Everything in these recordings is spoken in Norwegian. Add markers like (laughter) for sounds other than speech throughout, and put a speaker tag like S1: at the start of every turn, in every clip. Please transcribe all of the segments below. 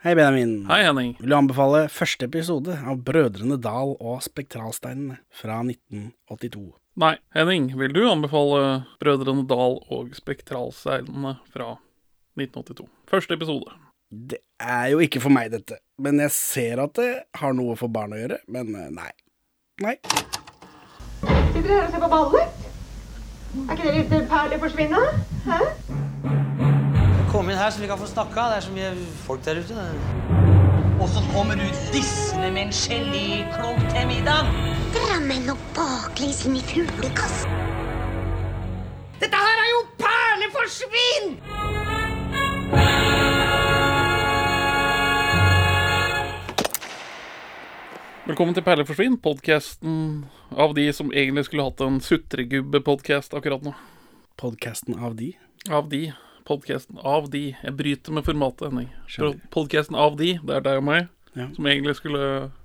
S1: Hei, Benjamin.
S2: Hei, Henning.
S1: Vil du anbefale første episode av Brødrene Dal og Spektralsteinene fra 1982?
S2: Nei, Henning, vil du anbefale Brødrene Dal og Spektralseilene fra 1982? Første episode.
S1: Det er jo ikke for meg, dette. Men jeg ser at det har noe for barn å gjøre. Men eh, nei. Nei.
S3: Sitter dere her og ser på ballet? Er ikke det litt perlig forsvinne? Hæ?
S4: Kom inn her så vi kan få snakka. Det er så mye folk der ute. Og så kommer du dissende med en geléklump til middag.
S5: Drammen og baklengs inn i fuglekassen.
S2: Velkommen til Perle forsvinn, podkasten av de som egentlig skulle hatt en sutregubbe-podkast akkurat nå.
S1: Podkasten av de.
S2: Av de. Podkasten av de. Jeg bryter med formatet, Henning. Podkasten av de, det er deg og meg,
S1: Ja.
S2: som egentlig skulle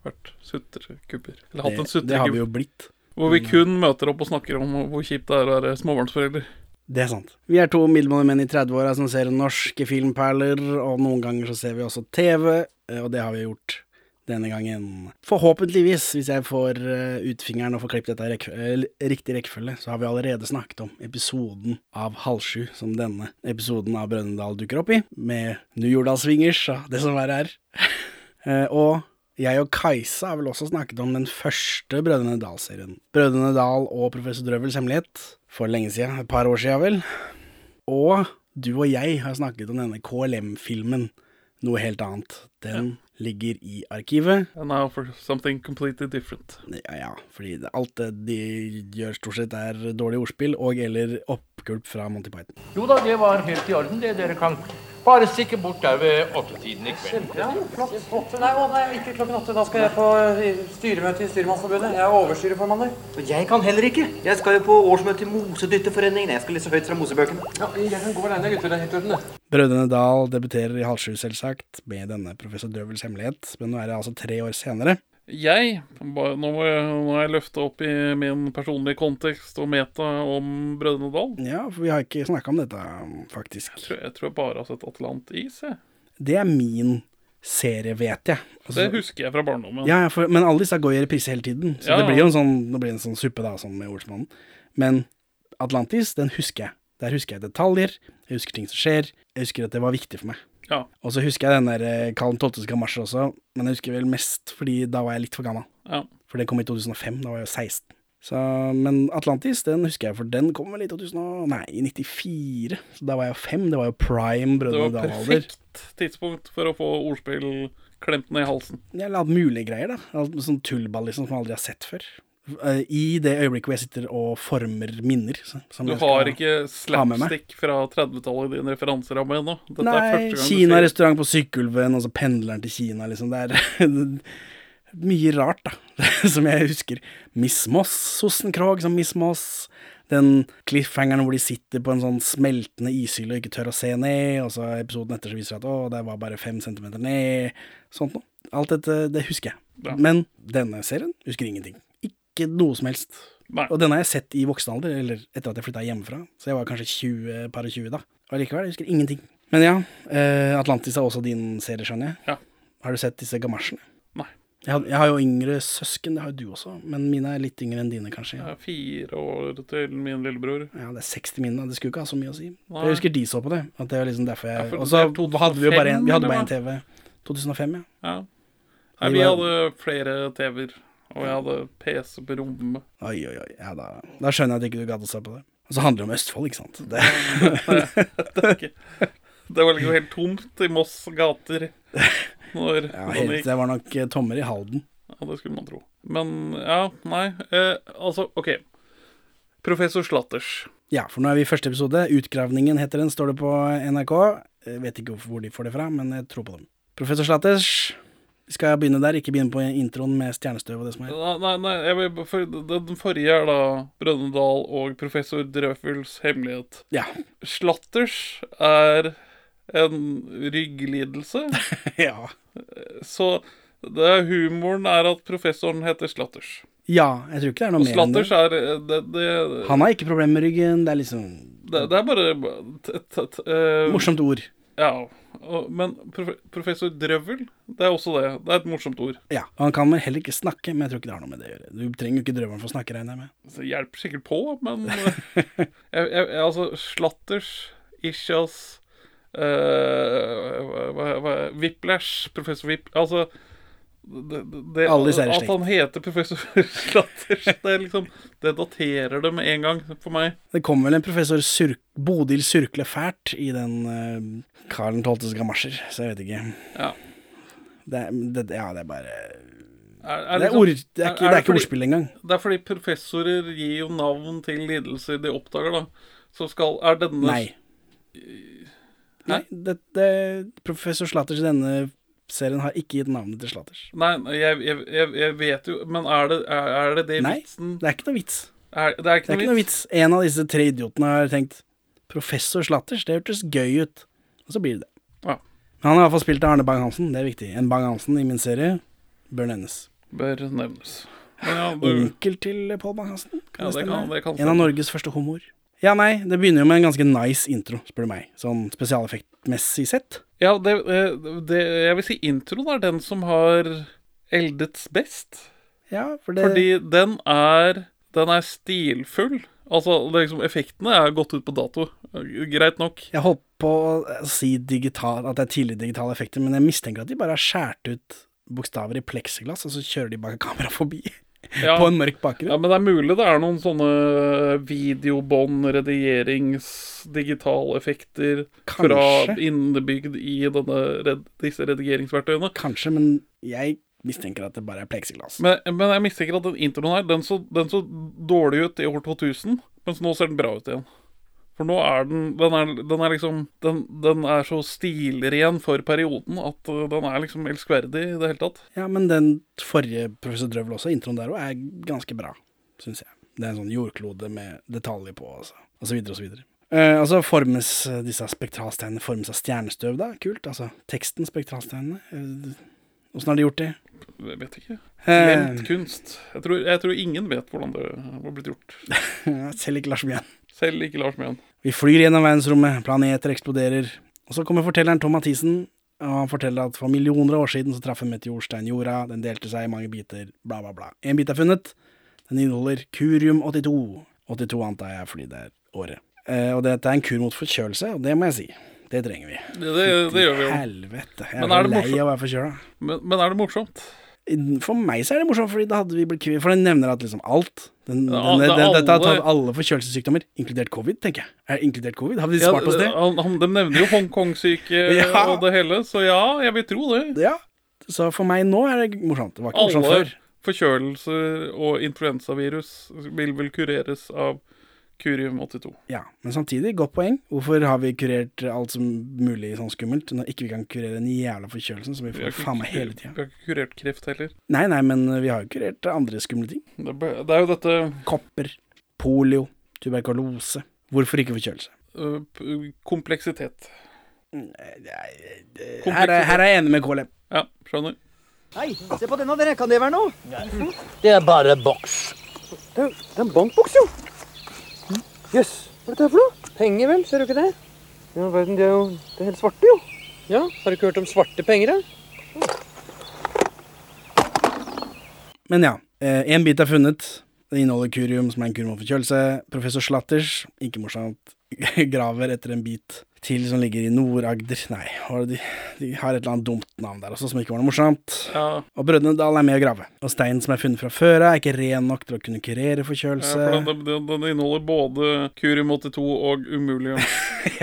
S2: vært sutregubber. Eller hatt
S1: Det,
S2: en
S1: det har vi
S2: sutregubb.
S1: jo blitt.
S2: Hvor vi kun møter opp og snakker om hvor kjipt det er å være småbarnsforelder.
S1: Det er sant. Vi er to middelmådige menn i 30-åra som ser norske filmperler, og noen ganger så ser vi også TV, eh, og det har vi gjort denne gangen. Forhåpentligvis, hvis jeg får eh, ut fingeren og får klippet dette i rekk eh, riktig rekkefølge, så har vi allerede snakket om episoden av Halv sju, som denne episoden av Brønnøydal dukker opp i, med New Jordal Swingers og det som verre er. Eh, og jeg og Kajsa har vel også snakket om den første Brødrene Dal-serien. Brødrene Dal og Professor Drøvels hemmelighet for lenge siden, et par år siden vel. Og du og jeg har snakket om denne KLM-filmen, noe helt annet. Den ligger i arkivet.
S2: And now for something completely different.
S1: Ja, ja, fordi det- alt det de gjør stort sett er dårlig ordspill og eller oppgulp fra Monty Python.
S6: Jo da, det var helt i orden, det. Dere kan bare stikke bort der ved åttetiden i kveld.
S7: Flott. Nei, å, nei, ikke klokken åtte. Da skal jeg på eh, styremøte i Styrmannsforbundet. Jeg er overstyreformann der.
S4: Jeg kan heller ikke. Jeg skal jo på årsmøte i Mosedytterforeningen. Jeg skal lese høyt fra Mosebøkene.
S7: Ja, jeg kan gå alene, gutter. Det er helt i orden, det.
S1: Brødrene Dal debuterer i halv sju, selvsagt, med denne Professor Drøvels hemmelighet, men nå er det altså tre år senere.
S2: Jeg ba- Nå må jeg, nå må jeg løfte opp i min personlige kontekst og meta om Brødrene Dal.
S1: Ja, for vi har ikke snakka om dette, faktisk.
S2: Tror jeg, jeg tror jeg bare har sett Atlantis, jeg.
S1: Det er min serie, vet jeg. Altså,
S2: Det husker jeg fra barndommen.
S1: ja, ja, for, men alle disse går i reprise hele tiden, så
S2: Ja,
S1: det
S2: ja.
S1: blir jo en sånn, det blir en sånn suppe da, sånn med ordsmannen. Men Atlantis, den husker jeg. Der husker jeg detaljer, jeg husker ting som skjer, jeg husker at det var viktig for meg.
S2: Ja.
S1: Og så husker jeg den der eh, Karl 12. skal marsje også, men jeg husker vel mest fordi da var jeg litt for gammel.
S2: Ja.
S1: For det kom i 2005, da var jeg jo 16. Så, men Atlantis, den husker jeg, for den kom vel i 2000, og- nei, i 94. Så da var jeg jo fem, det var jo prime
S2: Det
S1: Brødrene
S2: var
S1: Dal-alder.
S2: perfekt tidspunkt for å få ordspill klemt ned i halsen.
S1: Eller alt mulig greier, da. Alt med Sånn tullball liksom, som jeg aldri har sett før. Eh, I det øyeblikket hvor jeg sitter og former minner. så- Som
S2: Du
S1: jeg skal-
S2: har ikke
S1: ha med meg.
S2: slapstick fra 30-tallet i din referanseramme ennå. Dette er
S1: Nei,
S2: første gang du sier
S1: Kina-restaurant på Sykkylven, og så pendler han til Kina, liksom. Det er (laughs) mye rart, da, (laughs) som jeg husker. Miss Moss, Sossenkrog som Miss Moss. Den cliffhangeren hvor de sitter på en sånn smeltende ishylle og ikke tør å se ned, og så episoden etter så viser det at å, det var bare fem centimeter ned. Sånt noe. Alt dette, det husker jeg.
S2: Ja.
S1: Men denne serien husker ingenting. Ikke noe som helst.
S2: Nei.
S1: Og den har jeg sett i voksen alder, eller etter at jeg flytta hjemmefra. Så jeg var kanskje 20, par og 20 da. Og likevel, jeg husker ingenting. Men ja, eh, Atlantis er også din serie, skjønner jeg.
S2: Ja.
S1: Har du sett disse gamasjene?
S2: Nei.
S1: Jeg har, jeg har jo yngre søsken, det har jo du også, men mine er litt yngre enn dine, kanskje.
S2: Jeg
S1: Ja,
S2: er fire år til min lillebror.
S1: det er 60 mine, da. det skulle ikke ha så mye å si.
S2: Nei.
S1: Jeg husker de så på det, at det var liksom derfor
S2: Ja,
S1: jeg
S2: for
S1: Og så
S2: det er
S1: hadde vi jo bare
S2: 2005,
S1: en, vi hadde bare en
S2: eller
S1: TV. 2005, ja.
S2: Ja. Nei,
S1: Vi
S2: vi
S1: var-
S2: hadde flere TV-er, og jeg hadde PC på rommet.
S1: Oi, oi, oi. Ja, da, da skjønner jeg at ikke du gadd å se på det. Og så handler det om Østfold, ikke sant. Det,
S2: Det var liksom helt tomt i Moss gater når
S1: ja,
S2: den
S1: helt,
S2: gikk.
S1: det var nok eh, tommer i Halden.
S2: Ja, det skulle man tro. Men ja, nei. Eh, altså, OK. Professor Slatters.
S1: Ja, for nå er vi i første episode. 'Utgravningen' heter den, står det på NRK. Jeg vet ikke hvor de får det fra, men jeg tror på dem. Professor Slatters, vi skal begynne der. Ikke begynne på introen med stjernestøv og det som er.
S2: Nei, nei, nei jeg, vil- for, den forrige er da Brønnøydal og professor Drøfels hemmelighet.
S1: Ja. (laughs)
S2: Slatters er en rygglidelse, (laughs)
S1: ja.
S2: så det er humoren er at professoren heter Slatters.
S1: Ja, jeg tror ikke det er noe
S2: Og
S1: mer enn
S2: Slatters
S1: det.
S2: er eh, det, det,
S1: Han har ikke problemer med ryggen. Det er liksom
S2: det, det er bare t, t, t, eh,
S1: morsomt ord.
S2: Ja. Og, men prof professor Drøvel, det er også det. Det er et morsomt ord.
S1: Ja, og Han kan vel heller ikke snakke, men jeg tror ikke det har noe med det å gjøre. Du trenger jo ikke drømmeren for å snakke, regner jeg med.
S2: Så det hjelper sikkert på,
S1: (laughs)
S2: men eh, jeg, jeg, jeg, Altså, Slatters, Isjas eh, hva, hva, hva, Whiplash, professor Whip... Altså det, det,
S1: Alle i serien
S2: At han heter professor (laughs) Slatters, det, er liksom, det daterer det med en gang for meg.
S1: Det kom vel en professor Surk Bodil Surkle fælt i den uh, Karl 12.s gamasjer, så jeg vet ikke.
S2: Ja.
S1: Det, er- det, ja, det er bare
S2: Er,
S1: Det er,
S2: liksom-
S1: ord, det er ikke, det er ikke
S2: fordi-
S1: ordspill engang.
S2: Det er fordi professorer gir jo navn til lidelser de oppdager, da. Så skal Er denne
S1: Nei. Nei, det, det, professor Slatters i denne serien har ikke gitt navnet til Slatters.
S2: Nei, nei, jeg, jeg, jeg, jeg vet jo Men er det er, er det, det
S1: Nei,
S2: vitsen
S1: det er ikke noe vits.
S2: er, Det er
S1: Det er ikke noe vits. En av disse tre idiotene har tenkt Professor Slatters, det hørtes gøy ut. Og så blir det det.
S2: Ja.
S1: Men han har iallfall spilt av Arne Bang-Hansen, det er viktig. En Bang-Hansen i min serie bør nevnes.
S2: Bør nevnes.
S1: (laughs)
S2: Men ja, du
S1: Onkel til Pål Bang-Hansen, kan
S2: Ja,
S1: det
S2: det
S1: stemme?
S2: kan- det kan
S1: en av
S2: stemme.
S1: Norges første homoer. Ja, nei, det begynner jo med en ganske nice intro, spør du meg. Sånn spesialeffektmessig sett.
S2: Ja, det, eh, det Jeg vil si introen er den som har eldets best.
S1: Ja, for det
S2: Fordi den er Den er stilfull. Altså, det er liksom, effektene er gått ut på dato. Greit nok.
S1: Jeg holdt på å eh, si digital, at det er tidlig digitale effekter, men jeg mistenker at de bare har skåret ut bokstaver i pleksiglass, og så kjører de bare (laughs) kamera forbi
S2: Ja.
S1: på en mørk bakgrunn.
S2: Ja, men det er mulig det er noen sånne eh, videobånd, redierings, digitaleffekter fra
S1: Kanskje.
S2: innebygd i denne, red, disse redigeringsverktøyene.
S1: Kanskje, men jeg mistenker at det bare er pleksiglass.
S2: Men, men jeg mistenker at den introen her, den så, den så dårlig ut i år 2000, mens nå ser den bra ut igjen. For nå er den Den er, den er liksom den, den er så stilren for perioden at uh, den er liksom elskverdig i det hele tatt.
S1: Ja, men den forrige Professor Drøvel også, introen der òg, er ganske bra, syns jeg. Det er en sånn jordklode med detaljer på, altså. Og så videre og så videre. Eh, og så formes eh, disse spektralsteinene formes av stjernestøv, da. Kult. Altså teksten, spektralsteinene. Åssen har de gjort det?
S2: Jeg vet ikke.
S1: Eh,
S2: Glemt kunst. Jeg tror, jeg tror ingen vet hvordan det har blitt gjort.
S1: Eh, selv ikke Lars Mjøen.
S2: Selv ikke Lars Mjøen.
S1: Vi flyr gjennom verdensrommet, planeter eksploderer. Og så kommer fortelleren Tom Mathisen, og han forteller at for millioner av år siden så traff en meteorstein jorda, den delte seg i mange biter, bla, bla, bla. En bit er funnet. Den inneholder curium-82. 82 antar jeg fordi det er året. Eh, og dette er en kur mot forkjølelse, og det må jeg si. Det trenger vi.
S2: Det, det, det gjør vi jo.
S1: Helvete. Jeg
S2: Men
S1: er,
S2: er
S1: så
S2: det
S1: lei
S2: morsomt?
S1: av å være forkjøla.
S2: Men, men er det morsomt?
S1: For meg så er det morsomt, fordi da hadde vi blitt kvitt For den nevner at liksom alt den, den,
S2: Ja,
S1: den,
S2: det
S1: Dette har
S2: er alle-
S1: tatt alle forkjølelsessykdommer, inkludert covid, tenker jeg. Er det inkludert covid? Har vi spart oss det?
S2: Ja, han, han, de nevner jo Hongkong-syke
S1: (laughs) Ja.
S2: og det hele, så ja, jeg vil tro det.
S1: Ja. Så for meg nå er det morsomt. Det var ikke morsomt
S2: Alle
S1: før.
S2: forkjølelser og influensavirus vil vel kureres av Curium 82.
S1: Ja, Men samtidig, godt poeng. Hvorfor har vi kurert alt som mulig sånn skummelt, når ikke vi kan kurere den jævla forkjølelsen som vi
S2: Vi har
S1: får
S2: ikke-
S1: faen meg hele tida?
S2: Vi har ikke kurert kreft heller.
S1: Nei, nei, men vi har jo kurert andre skumle ting.
S2: Det, bø- det er jo dette
S1: Kopper, polio, tuberkulose. Hvorfor ikke forkjølelse?
S2: ø, eh, p- kompleksitet.
S1: Her er, her er jeg enig med KLM.
S2: Ja, skjønner.
S8: Hei, se på denne dere. Kan det være noe?
S4: Det er bare boks.
S8: Det er, det er en bankboks, jo. Jøss. Yes. Hva er dette her for noe?
S7: Penger vel, ser du ikke det?
S8: Ja, verden, de er jo det er helt svarte, jo.
S7: Ja, Har du ikke hørt om svarte penger, da?
S1: Men ja, én bit er funnet. Det inneholder curium, som er en kur mot forkjølelse. Professor Slatters, ikke morsomt, (laughs) graver etter en bit til som ligger i Nord-Agder. Nei, har de, de har et eller annet dumt navn der også, som ikke var noe morsomt.
S2: Ja,
S1: Og Brødrene Dal er med å grave. Og steinen som er funnet fra før av, er ikke ren nok til å kunne kurere
S2: ja, for den,
S1: forkjølelse.
S2: den, den inneholder både Curium 82 og Umulium.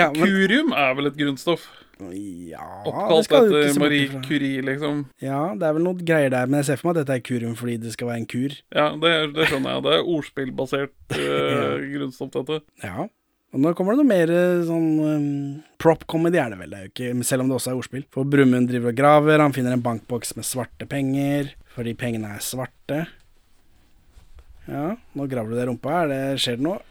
S1: Ja, (laughs) men,
S2: Curium er vel et grunnstoff?
S1: ja, det
S2: Oppkalt
S1: skal du ikke
S2: etter
S1: se bort
S2: Marie
S1: ifra.
S2: Curie, liksom.
S1: Ja, det er vel noen greier der, men jeg ser for meg at dette er curium fordi det skal være en kur.
S2: Ja, det, det skjønner jeg. Det er
S1: (laughs)
S2: ordspillbasert uh, grunnstoff, dette.
S1: Ja. Og nå kommer det noe mer eh, sånn um, prop-comedy, er det vel? Det er jo ikke, men selv om det også er ordspill. For Brumund driver og graver, han finner en bankboks med svarte penger, fordi pengene er svarte. Ja, nå graver du deg i rumpa, er det, skjer det noe?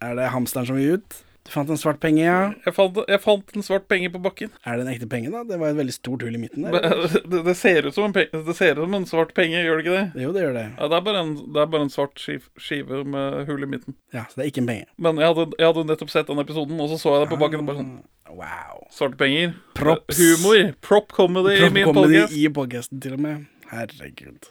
S1: Er det hamsteren som vil ut? Du fant en svart penge, ja.
S2: Jeg fant, jeg fant en svart penge på bakken.
S1: Er det en ekte penge, da? Det var et veldig stort hull i midten der.
S2: Det, det, det ser ut som en, penge, det ser ut som en svart penge, gjør det ikke det?
S1: Jo, det gjør det.
S2: Ja, det, er bare en, det er bare en svart skiv, skive med hull i midten.
S1: Ja, så det er ikke en penge.
S2: Men jeg hadde, jeg hadde nettopp sett den episoden, og så så jeg det på bakken. og Bare sånn,
S1: Wow.
S2: Svarte penger.
S1: Ah. Props.
S2: Humor. Prop comedy i
S1: Prop
S2: min
S1: comedy
S2: podcast.
S1: I podcasten, til og med. Herregud.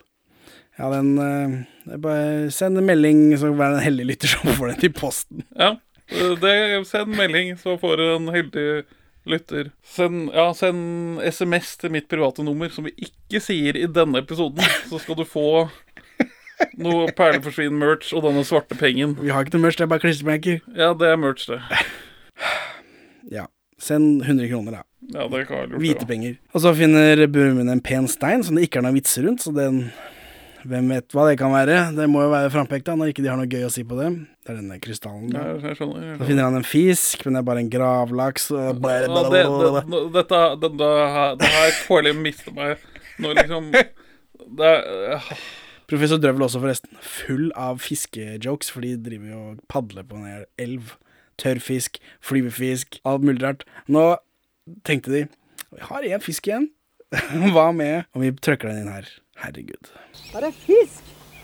S1: Ja, den eh, det er bare Send en melding, så vær en heldig lytter som får den i posten.
S2: Ja. Det, send melding, så får du en heldig lytter. Send, ja, send SMS til mitt private nummer, som vi ikke sier i denne episoden. Så skal du få noe perleforsvinn-merch og denne svarte pengen.
S1: Vi har ikke noe merch, det er bare klistremerker.
S2: Ja, det er merch, det.
S1: Ja. Send 100 kroner, da.
S2: Ja, det kan jeg lurt
S1: Hvite penger. Og så finner Burmund en pen stein som det ikke er noen vitser rundt, så den Hvem vet hva det kan være? Det må jo være frampekta når ikke de har noe gøy å si på det. Det er denne krystallen.
S2: Ja,
S1: Da.
S2: jeg skjønner. Jeg
S1: Så
S2: skjønner.
S1: finner han en fisk, men det er bare en gravlaks. og
S2: Ja, det, det, dette det, det, her- det her får jeg miste meg når liksom det er,
S1: Professor Drøvel også, forresten. Full av fiskejokes, for de driver jo og padler på en hel elv. Tørrfisk, flyvefisk, alt mulig rart. Nå tenkte de Vi har én fisk igjen. (laughs) Hva med om vi trykker den inn her? Herregud.
S9: Her er fisk!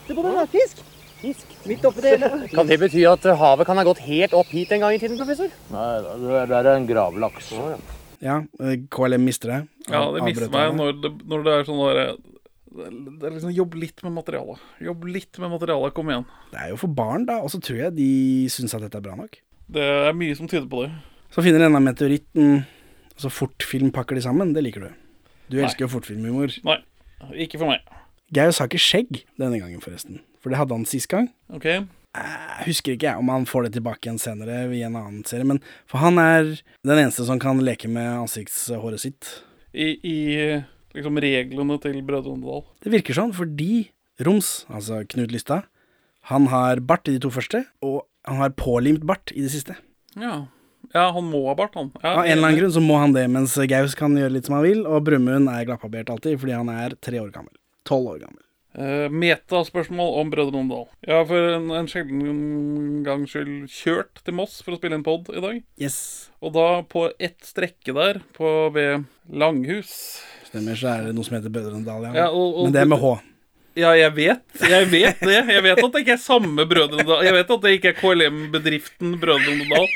S9: Se på den, det er fisk! Fisk midt oppi det hele. Kan det bety at havet kan ha gått helt opp hit en gang i tiden, professor?
S6: Nei, det der er en gravlaks.
S1: Ja, eh, KLM mister det.
S2: Ja, det mister
S1: Avbrøt
S2: meg
S1: henne.
S2: når det, når det er sånn der det er liksom, Jobb litt med materialet. Jobb litt med materialet, kom igjen.
S1: Det er jo for barn, da. Og så tror jeg de syns at dette er bra nok.
S2: Det er mye som tyder på det.
S1: Så finner denne meteoritten, og så fortfilm pakker de sammen. Det liker du. Du elsker jo fortfilmhumor.
S2: Nei, ikke for meg.
S1: Geir sa ikke skjegg denne gangen, forresten. For det hadde han sist gang.
S2: OK?
S1: Jeg Eh, husker ikke jeg om han får det tilbake igjen senere i en annen serie, men for han er den eneste som kan leke med ansiktshåret sitt.
S2: I, i liksom reglene til Brødrene Dal.
S1: Det virker sånn fordi Roms, altså Knut Lystad, han har bart i de to første, og han har pålimt bart i det siste.
S2: Ja. ja, han må ha bart, han. Ja,
S1: Av en eller annen grunn så må han det, mens Gaus kan gjøre litt som han vil, og Brumund er glattbarbert alltid fordi han er tre år gammel. Tolv år gammel.
S2: Eh, Metaspørsmål om Brødrene Dal. Jeg har for en, en sjelden gangs skyld kjørt til Moss for å spille en pod i dag.
S1: Yes.
S2: Og da, på ett strekke der, på ved Langhus
S1: Stemmer, så er det noe som heter Brødrene Dal, ja.
S2: Ja, og- og-
S1: Men det er med H.
S2: Ja, jeg vet, jeg vet det. Jeg vet at det ikke er samme Brødrene Dal. Jeg vet at det ikke er KLM-bedriften Brødrene Dal.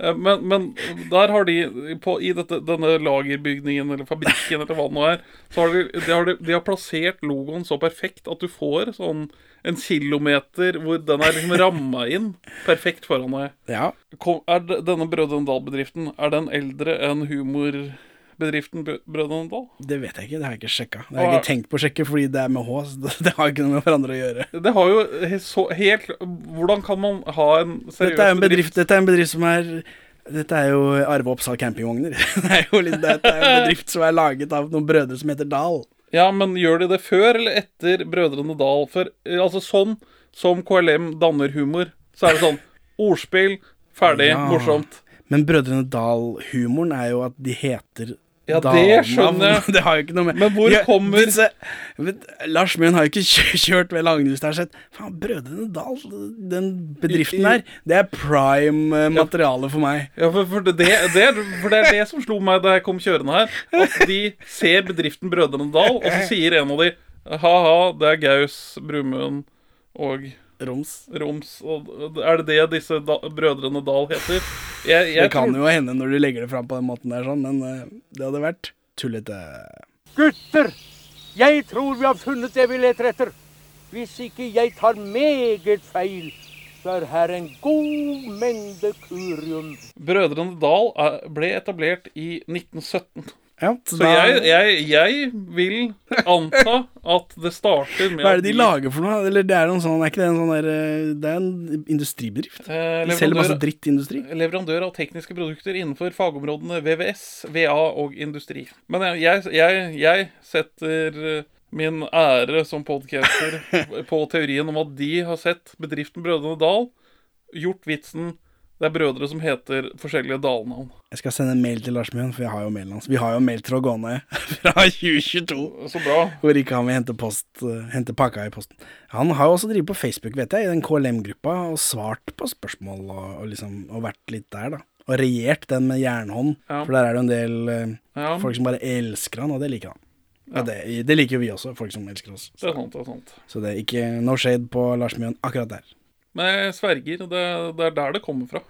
S2: Eh, Men, men der har de, på, i dette, denne lagerbygningen eller fabrikken eller hva det nå er, så har de, de, har de, de har plassert logoen så perfekt at du får sånn en kilometer hvor den er liksom ramma inn perfekt foran deg.
S1: Ja.
S2: Kom, er det- denne Brødrene Dal-bedriften, er den eldre enn humorbedriften Brø- Brødrene Dal?
S1: Det vet jeg ikke, det har jeg ikke sjekka. Det har jeg ikke tenkt på å sjekke, fordi det er med H, så (laughs) det- det har ikke noe med hverandre å gjøre.
S2: Det har jo he- så helt Hvordan kan man ha en seriøs
S1: Dette er en bedrift, dette er en bedrift som er dette er jo Arve Oppsal campingvogner. (laughs) Det er jo litt, dette er
S2: (laughs)
S1: en bedrift som er laget av noen brødre som heter Dal.
S2: Ja, men gjør de det før eller etter Brødrene Dal? For eh, altså sånn som KLM danner humor, så er det
S1: (laughs)
S2: sånn ordspill, ferdig,
S1: Ja.
S2: morsomt.
S1: Men Brødrene Dal-humoren er jo at de heter
S2: Ja, det
S1: Dalnavn.
S2: skjønner jeg.
S1: (laughs) Det har jo ikke noe med
S2: Men hvor
S1: Ja,
S2: kommer-
S1: disse, vet, Lars Mjøen har jo ikke kjø- kjørt ved Langhus der og sett Faen, Brødrene Dal, den bedriften der,
S2: I- i-
S1: det er prime eh, materiale for meg.
S2: Ja, for, for, det, det, er- for det er det som slo meg da jeg kom kjørende her. At de ser bedriften Brødrene Dal, og så
S1: (laughs)
S2: sier en av de ha-ha, det er Gaus, Brumund og
S1: Roms.
S2: Roms. Og er det det disse da, Brødrene Dal heter? Jeg,
S1: Det
S2: jeg
S1: kan
S2: tror-
S1: jo hende når du legger det fram på den måten der, sånn, men eh, det hadde vært tullete.
S9: Gutter! Jeg tror vi har funnet det vi leter etter. Hvis ikke jeg tar meget feil, så er her en god mengde kurium.
S2: Brødrene Dal er, ble etablert i 1917.
S1: Ja, så
S2: Så
S1: da,
S2: jeg, jeg, jeg vil anta at det starter med
S1: hva er det de
S2: at
S1: lager for noe? Eller det er noen sånn, er ikke det en sånn der eh, Det er en industribedrift.
S2: eh,
S1: De selger masse
S2: leverandør,
S1: dritt til industri.
S2: leverandør av tekniske produkter innenfor fagområdene VVS, VA og industri. Men jeg- jeg, jeg, jeg setter eh, min ære som podcaster på teorien om at de har sett bedriften Brødrene Dal, gjort vitsen det er brødre som heter forskjellige dalnavn.
S1: Jeg skal sende en mail til Lars Mjøen, for jeg har jo mailen hans. Vi har jo mailtråd gående (laughs) fra 2022.
S2: Så bra.
S1: Hvor ikke han vil hente, post, eh, hente pakka i posten. Han har jo også drevet på Facebook, vet jeg, i den KLM-gruppa, og svart på spørsmål og, og liksom og vært litt der, da. og regjert den med jernhånd.
S2: Ja.
S1: For der er det jo en del eh,
S2: Ja,
S1: folk som bare elsker han, og det liker han.
S2: Ja.
S1: Og det, det liker jo vi også, folk som elsker oss.
S2: det er sant, det er sant.
S1: Så det er ikke no shade på Lars Mjøen akkurat der.
S2: Men jeg sverger, det, det er der det kommer fra.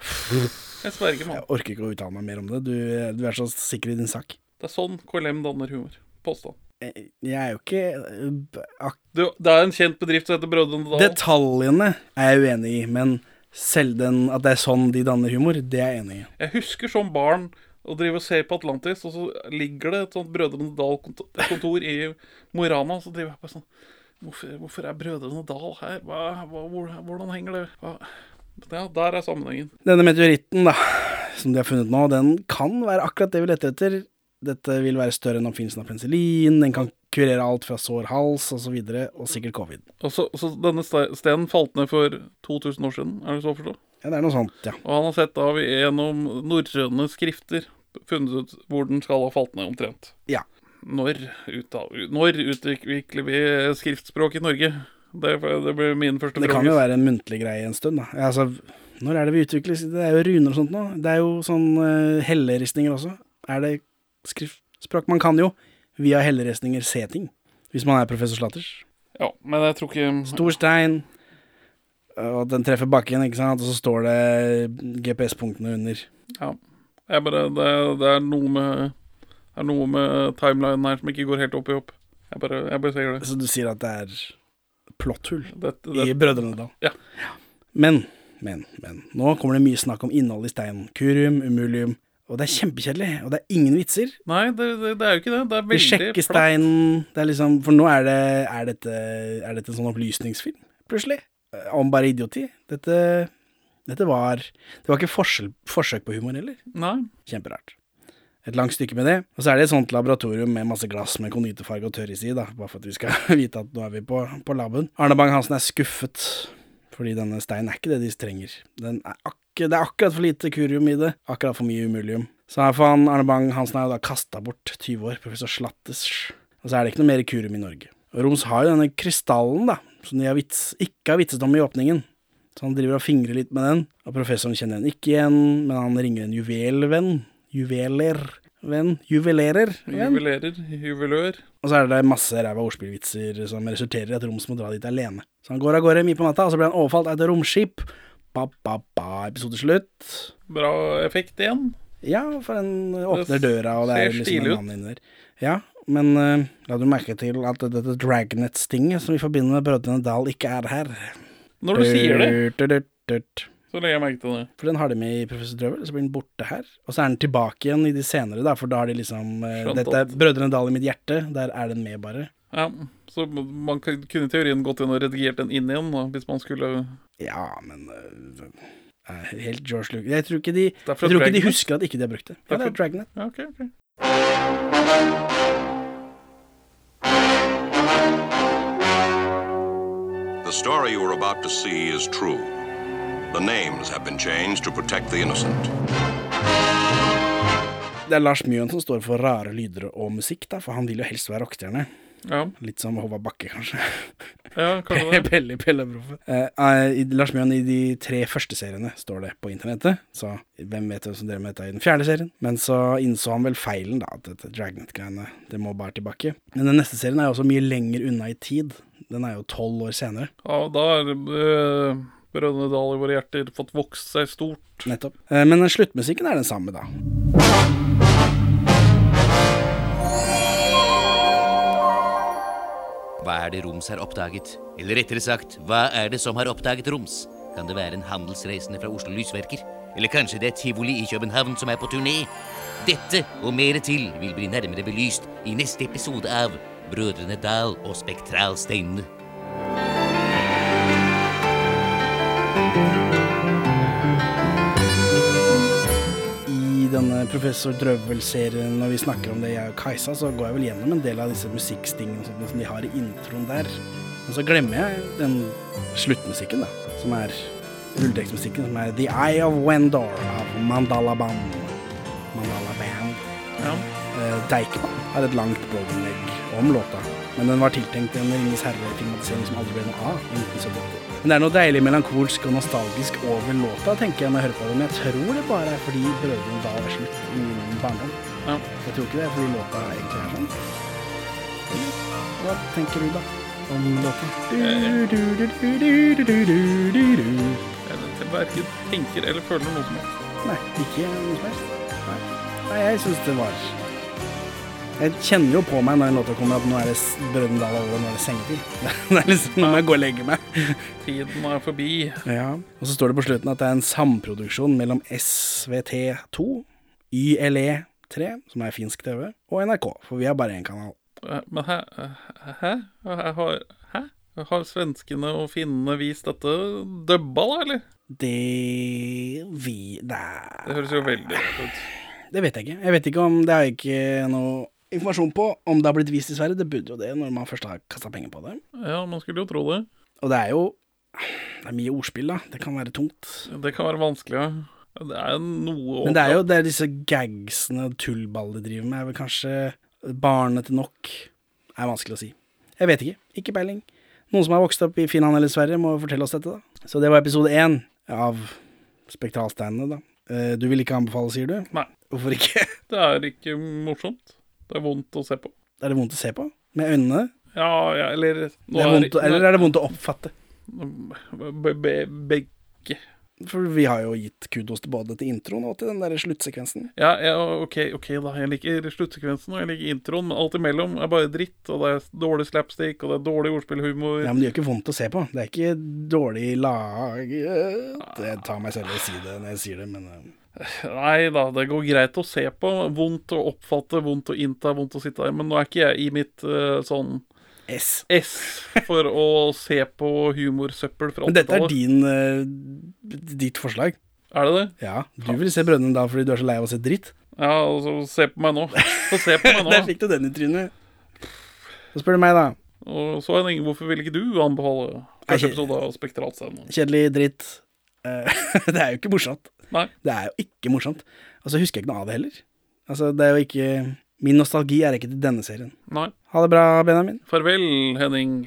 S2: Jeg sverger, mann.
S1: Jeg orker ikke å uttale meg mer om det. Du, du er så sikker i din sak.
S2: Det er sånn KLM danner humor. Påstand.
S1: Jeg jeg er jo ikke eh, b- ak
S2: Du, det er en kjent bedrift som heter Brødrene Dal.
S1: Detaljene er jeg uenig i, men selv den at det er sånn de danner humor, det er jeg enig i.
S2: Jeg husker som barn å drive og se på Atlantis, og så ligger det et sånt Brødrene Dal-kontor i Mo i Rana, og så driver jeg bare sånn Hvorfor, hvorfor er Brødrene Dal her? Hva, hva, hvor, hvordan henger det hva? Ja, der er sammenhengen.
S1: Denne meteoritten, da, som de har funnet nå, den kan være akkurat det vi leter etter. Dette vil være større enn oppfinnelsen av penicillin, den kan kurere alt fra sår hals osv., og, så videre, og sikkert covid.
S2: Og så, så denne ste- stenen falt ned for 2000 år siden, er det så å forstå?
S1: Ja, det er noe sånt, ja.
S2: Og han har sett da vi gjennom norrøne skrifter funnet ut hvor den skal ha falt ned omtrent.
S1: Ja.
S2: Når, uta, når utvikler vi skriftspråk i Norge? Det, det blir min første
S1: Det kan jo være en muntlig greie en stund, da. Altså, når er det vi utvikler Det er jo runer og sånt nå. Det er jo sånn eh, helleristninger også. Er det skriftspråk? Man kan jo via helleristninger se ting, hvis man er professor Slatters.
S2: Ja, men jeg tror ikke
S1: Stor stein, eh, og den treffer bakken, ikke sant, og så står det GPS-punktene under.
S2: jeg bare, det, det er noe med det er noe med timelinen her som ikke går helt opp i opp. Jeg bare, jeg bare sier det.
S1: Så du sier at det er plotthull
S2: det, det
S1: i Brødrene Dal.
S2: Ja.
S1: Men, men, men. Nå kommer det mye snakk om innholdet i steinen. Kurium, umulium. Og det er kjempekjedelig, og det er ingen vitser.
S2: nei, det, det, det er jo ikke det. Det er
S1: Vi
S2: veldig
S1: sjekker
S2: flatt.
S1: steinen. Det er liksom, for nå er, det, er, dette, er dette en sånn opplysningsfilm, plutselig. Eh, Om bare idioti. Dette, dette var Det var ikke forskjell, forsøk på humor heller.
S2: Nei.
S1: Kjemperart. Et langt stykke med det. Og så er det et sånt laboratorium med masse glass med konditorfarge og tørris i, da, bare for at vi skal (laughs) vite at nå er vi på, på laben. Arne Bang-Hansen er skuffet, fordi denne steinen er ikke det de trenger. Den er ak det er akkurat for lite kurium i det, akkurat for mye umulium. Så her får han Arne Bang-Hansen er jo da kasta bort, 20 år, professor Slattes. Og så er det ikke noe mer kurium i Norge. Og Roms har jo denne krystallen, da, som de har vits ikke har vitset om i åpningen. Så han driver og fingrer litt med den, og professoren kjenner den ikke igjen, men han ringer en juvelvenn. Juvelervenn. Juvelerer.
S2: Mm. Juvelerer. Juvelør.
S1: Og så er det masse ræva ordspillvitser som resulterer i at Roms må dra dit alene. Så han går av gårde midt på natta, og så blir han overfalt av et romskip. Ba, ba, ba, episode slutt.
S2: Bra effekt igjen.
S1: Ja, for den åpner døra, og det
S2: ser
S1: er liksom
S2: stilig
S1: en
S2: ut.
S1: mann inni der. Ja, men eh, la du merke til at dette Dragnets-tinget som vi forbinder med Brødrene Dal, ikke er her.
S2: Når du sier det,
S1: Durt, durt, durt.
S2: så legger jeg merke til det.
S1: For den har de med i Professor Drøvel, så blir den borte her. Og så er den tilbake igjen i de senere, da, for da har de liksom eh,
S2: Skjønt
S1: Dette er
S2: alt.
S1: Brødrene Dal i mitt hjerte, der er den med, bare.
S2: Ja, Så man kan- kunne i teorien gått inn og redigert den inn igjen, da, hvis man skulle
S1: Ja, men eh, eh, Helt George Lucas Jeg tror ikke de,
S2: Det er
S1: jeg
S2: fra
S1: tror ikke de
S2: Dragnet.
S1: husker at ikke de har brukt det. Ja, det er Dragnet.
S2: Ja, ok, ok.
S10: The story you are about to see is true. The names have been changed to protect the innocent.
S1: Det er Lars Mjøen som står for rare lyder og musikk, da, for han vil jo helst være rockestjerne.
S2: Ja,
S1: Litt som Håvard Bakke, kanskje. (laughs)
S2: ja kanskje det.
S1: Pelle Pelleproffen. Eh, i- Lars Mjøen i de tre første seriene, står det på internettet. Så hvem vet hvem som drev med dette i den fjerde serien? Men så innså han vel feilen, da, at dette Dragnet-greiene, det må bare tilbake. Men den neste serien er jo også mye lenger unna i tid. Den er jo tolv år senere,
S2: Ja, da har øh, Brødrene Dal i våre hjerter fått vokst seg stort.
S1: nettopp. Eh, men sluttmusikken er den samme, da.
S4: Hva er det Roms har oppdaget? Eller rettere sagt, hva er det som har oppdaget Roms? Kan det være en handelsreisende fra Oslo Lysverker? Eller kanskje det er tivoli i København som er på turné? Dette og mer til vil bli nærmere belyst i neste episode av Brødrene Dal og Spektralsteinene.
S1: I denne Professor Drøvel-serien, når vi snakker om det, jeg og Kajsa, så går jeg vel gjennom en del av disse musikkstingene og sånt som de har i introen der. Men så glemmer jeg den sluttmusikken, da, som er rulletekstmusikken, som er The Eye of Wendor av Mandala Band. Mandala Band.
S2: Ja.
S1: Eh, Deichman har et langt blogginnlegg om låta. men den var tiltenkt en Ringenes herre-filmatisering som aldri ble noe av i 1978. Men det er noe deilig melankolsk og nostalgisk over låta, tenker jeg når jeg hører på den. Jeg tror det bare er fordi Brødrene Dal er slutt i min barndom. Jeg tror ikke det er fordi låta egentlig er sånn. Hva tenker du, da? Om låta?
S2: Jeg verken tenker eller føler noe som helst.
S1: Nei, ikke noe som helst. Nei, Nei jeg syns det var Jeg kjenner jo på meg når en låt kommer at nå er det s- Brønnøydal over, og nå er det sengetid. (laughs) Det er liksom Nå må jeg gå og legge meg.
S2: Tiden er forbi.
S1: Ja. Og så står det på slutten at det er en samproduksjon mellom SVT2, YLE3, E som er finsk TV, og NRK, for vi har bare én kanal.
S2: Eh, Men hæ? Hæ? Hæ? Har, hæ? har svenskene og finnene vist dette dubba, da, eller?
S1: Det vi Nei.
S2: Det høres jo veldig rart ut.
S1: Det vet jeg ikke. Jeg vet ikke om Det har jeg ikke noe informasjon på. Om det har blitt vist i Sverige, det burde jo det, når man først har kasta penger på det.
S2: Ja, man skulle jo tro det.
S1: Og det er jo Det er mye ordspill, da. Det kan være tungt.
S2: Det kan være vanskelig, ja. Det er noe
S1: Men det er jo det er disse gagsene og tullball de driver med, er vel kanskje barnete nok er vanskelig å si. Jeg vet ikke. Ikke peiling. Noen som har vokst opp i Finland eller Sverige, må fortelle oss dette, da. Så det var episode én av Spektralsteinene, da. Eh, Du vil ikke anbefale, sier du?
S2: Nei.
S1: Hvorfor ikke? (laughs)
S2: Det er ikke morsomt. Det er vondt å se på.
S1: Er det vondt å se på? Med øynene?
S2: Ja, ja eller nå
S1: Det er vondt, å- eller er det vondt å oppfatte?
S2: Be- be- Begge.
S1: For vi har jo gitt kudos til både til introen og til den der sluttsekvensen.
S2: Ja, ja, OK, ok da. Jeg liker sluttsekvensen og jeg liker introen, men alt imellom er bare dritt. Og det er dårlig slapstick, og det er dårlig ordspillhumor.
S1: Ja, men det gjør ikke vondt å se på. Det er ikke dårlig laget Jeg tar meg selv i å si det når jeg sier det, men eh,
S2: Nei da, det går greit å se på. Vondt å oppfatte, vondt å innta, vondt å sitte der. Men nå er ikke jeg i mitt eh, sånn
S1: S.
S2: S for å se på humorsøppel fra
S1: Men dette er
S2: 80-tallet.
S1: din, eh, ditt forslag.
S2: Er det det?
S1: Ja, du vil se Brønnøy da fordi du er så lei av å se dritt.
S2: Ja, altså, se på meg nå. Så se på
S1: (laughs)
S2: meg nå.
S1: Der fikk du den i trynet. Så spør du meg, da.
S2: Og så Henning, hvorfor vil ikke du anbefale første
S1: Nei.
S2: episode av Spektralscenen?
S1: Kjedelig dritt. Eh, (laughs) det er jo ikke morsomt.
S2: Nei.
S1: Det er jo ikke morsomt. Og så husker jeg ikke noe av det heller. Altså, det er jo ikke Min nostalgi er ikke til denne serien.
S2: Nei.
S1: Ha det bra, Benjamin.
S2: Farvel, Henning.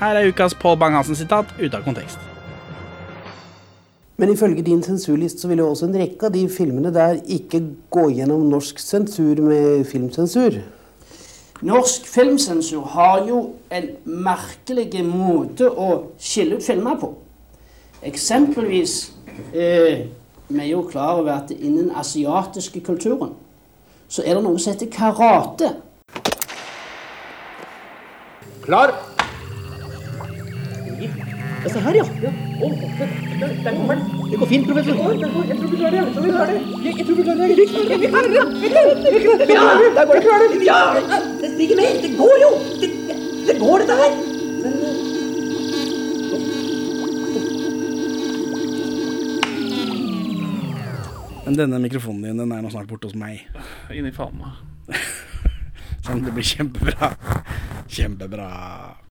S1: Her er ukas Pål Bang-Hansen-sitat ute av kontekst.
S11: Men ifølge din sensurliste så vil jo også en rekke av de filmene der ikke gå gjennom norsk sensur med filmsensur.
S12: Norsk filmsensur har jo en merkelig måte å skille ut filmer på. Eksempelvis eh, Vi er jo klar over at innen den asiatiske kulturen så er det noe som heter karate.
S6: Klar?
S12: Se her, ja. ja. Oh, der kommer den. Det går fint, professor. Jeg tror vi klarer det. Jeg tror vi klarer det. Jeg tror vi klarer det. Vi klarer det. Vi klarer det. Vi klarer det. Vi klarer det. Ja, der går det. Klarer det. Ja, det stiger mer. Det går jo. Det, det, det går, dette her. Men
S1: Men denne mikrofonen din den er nå snart borte hos meg.
S2: Inni faen meg.
S1: Sånn, det blir kjempebra. Kjempebra.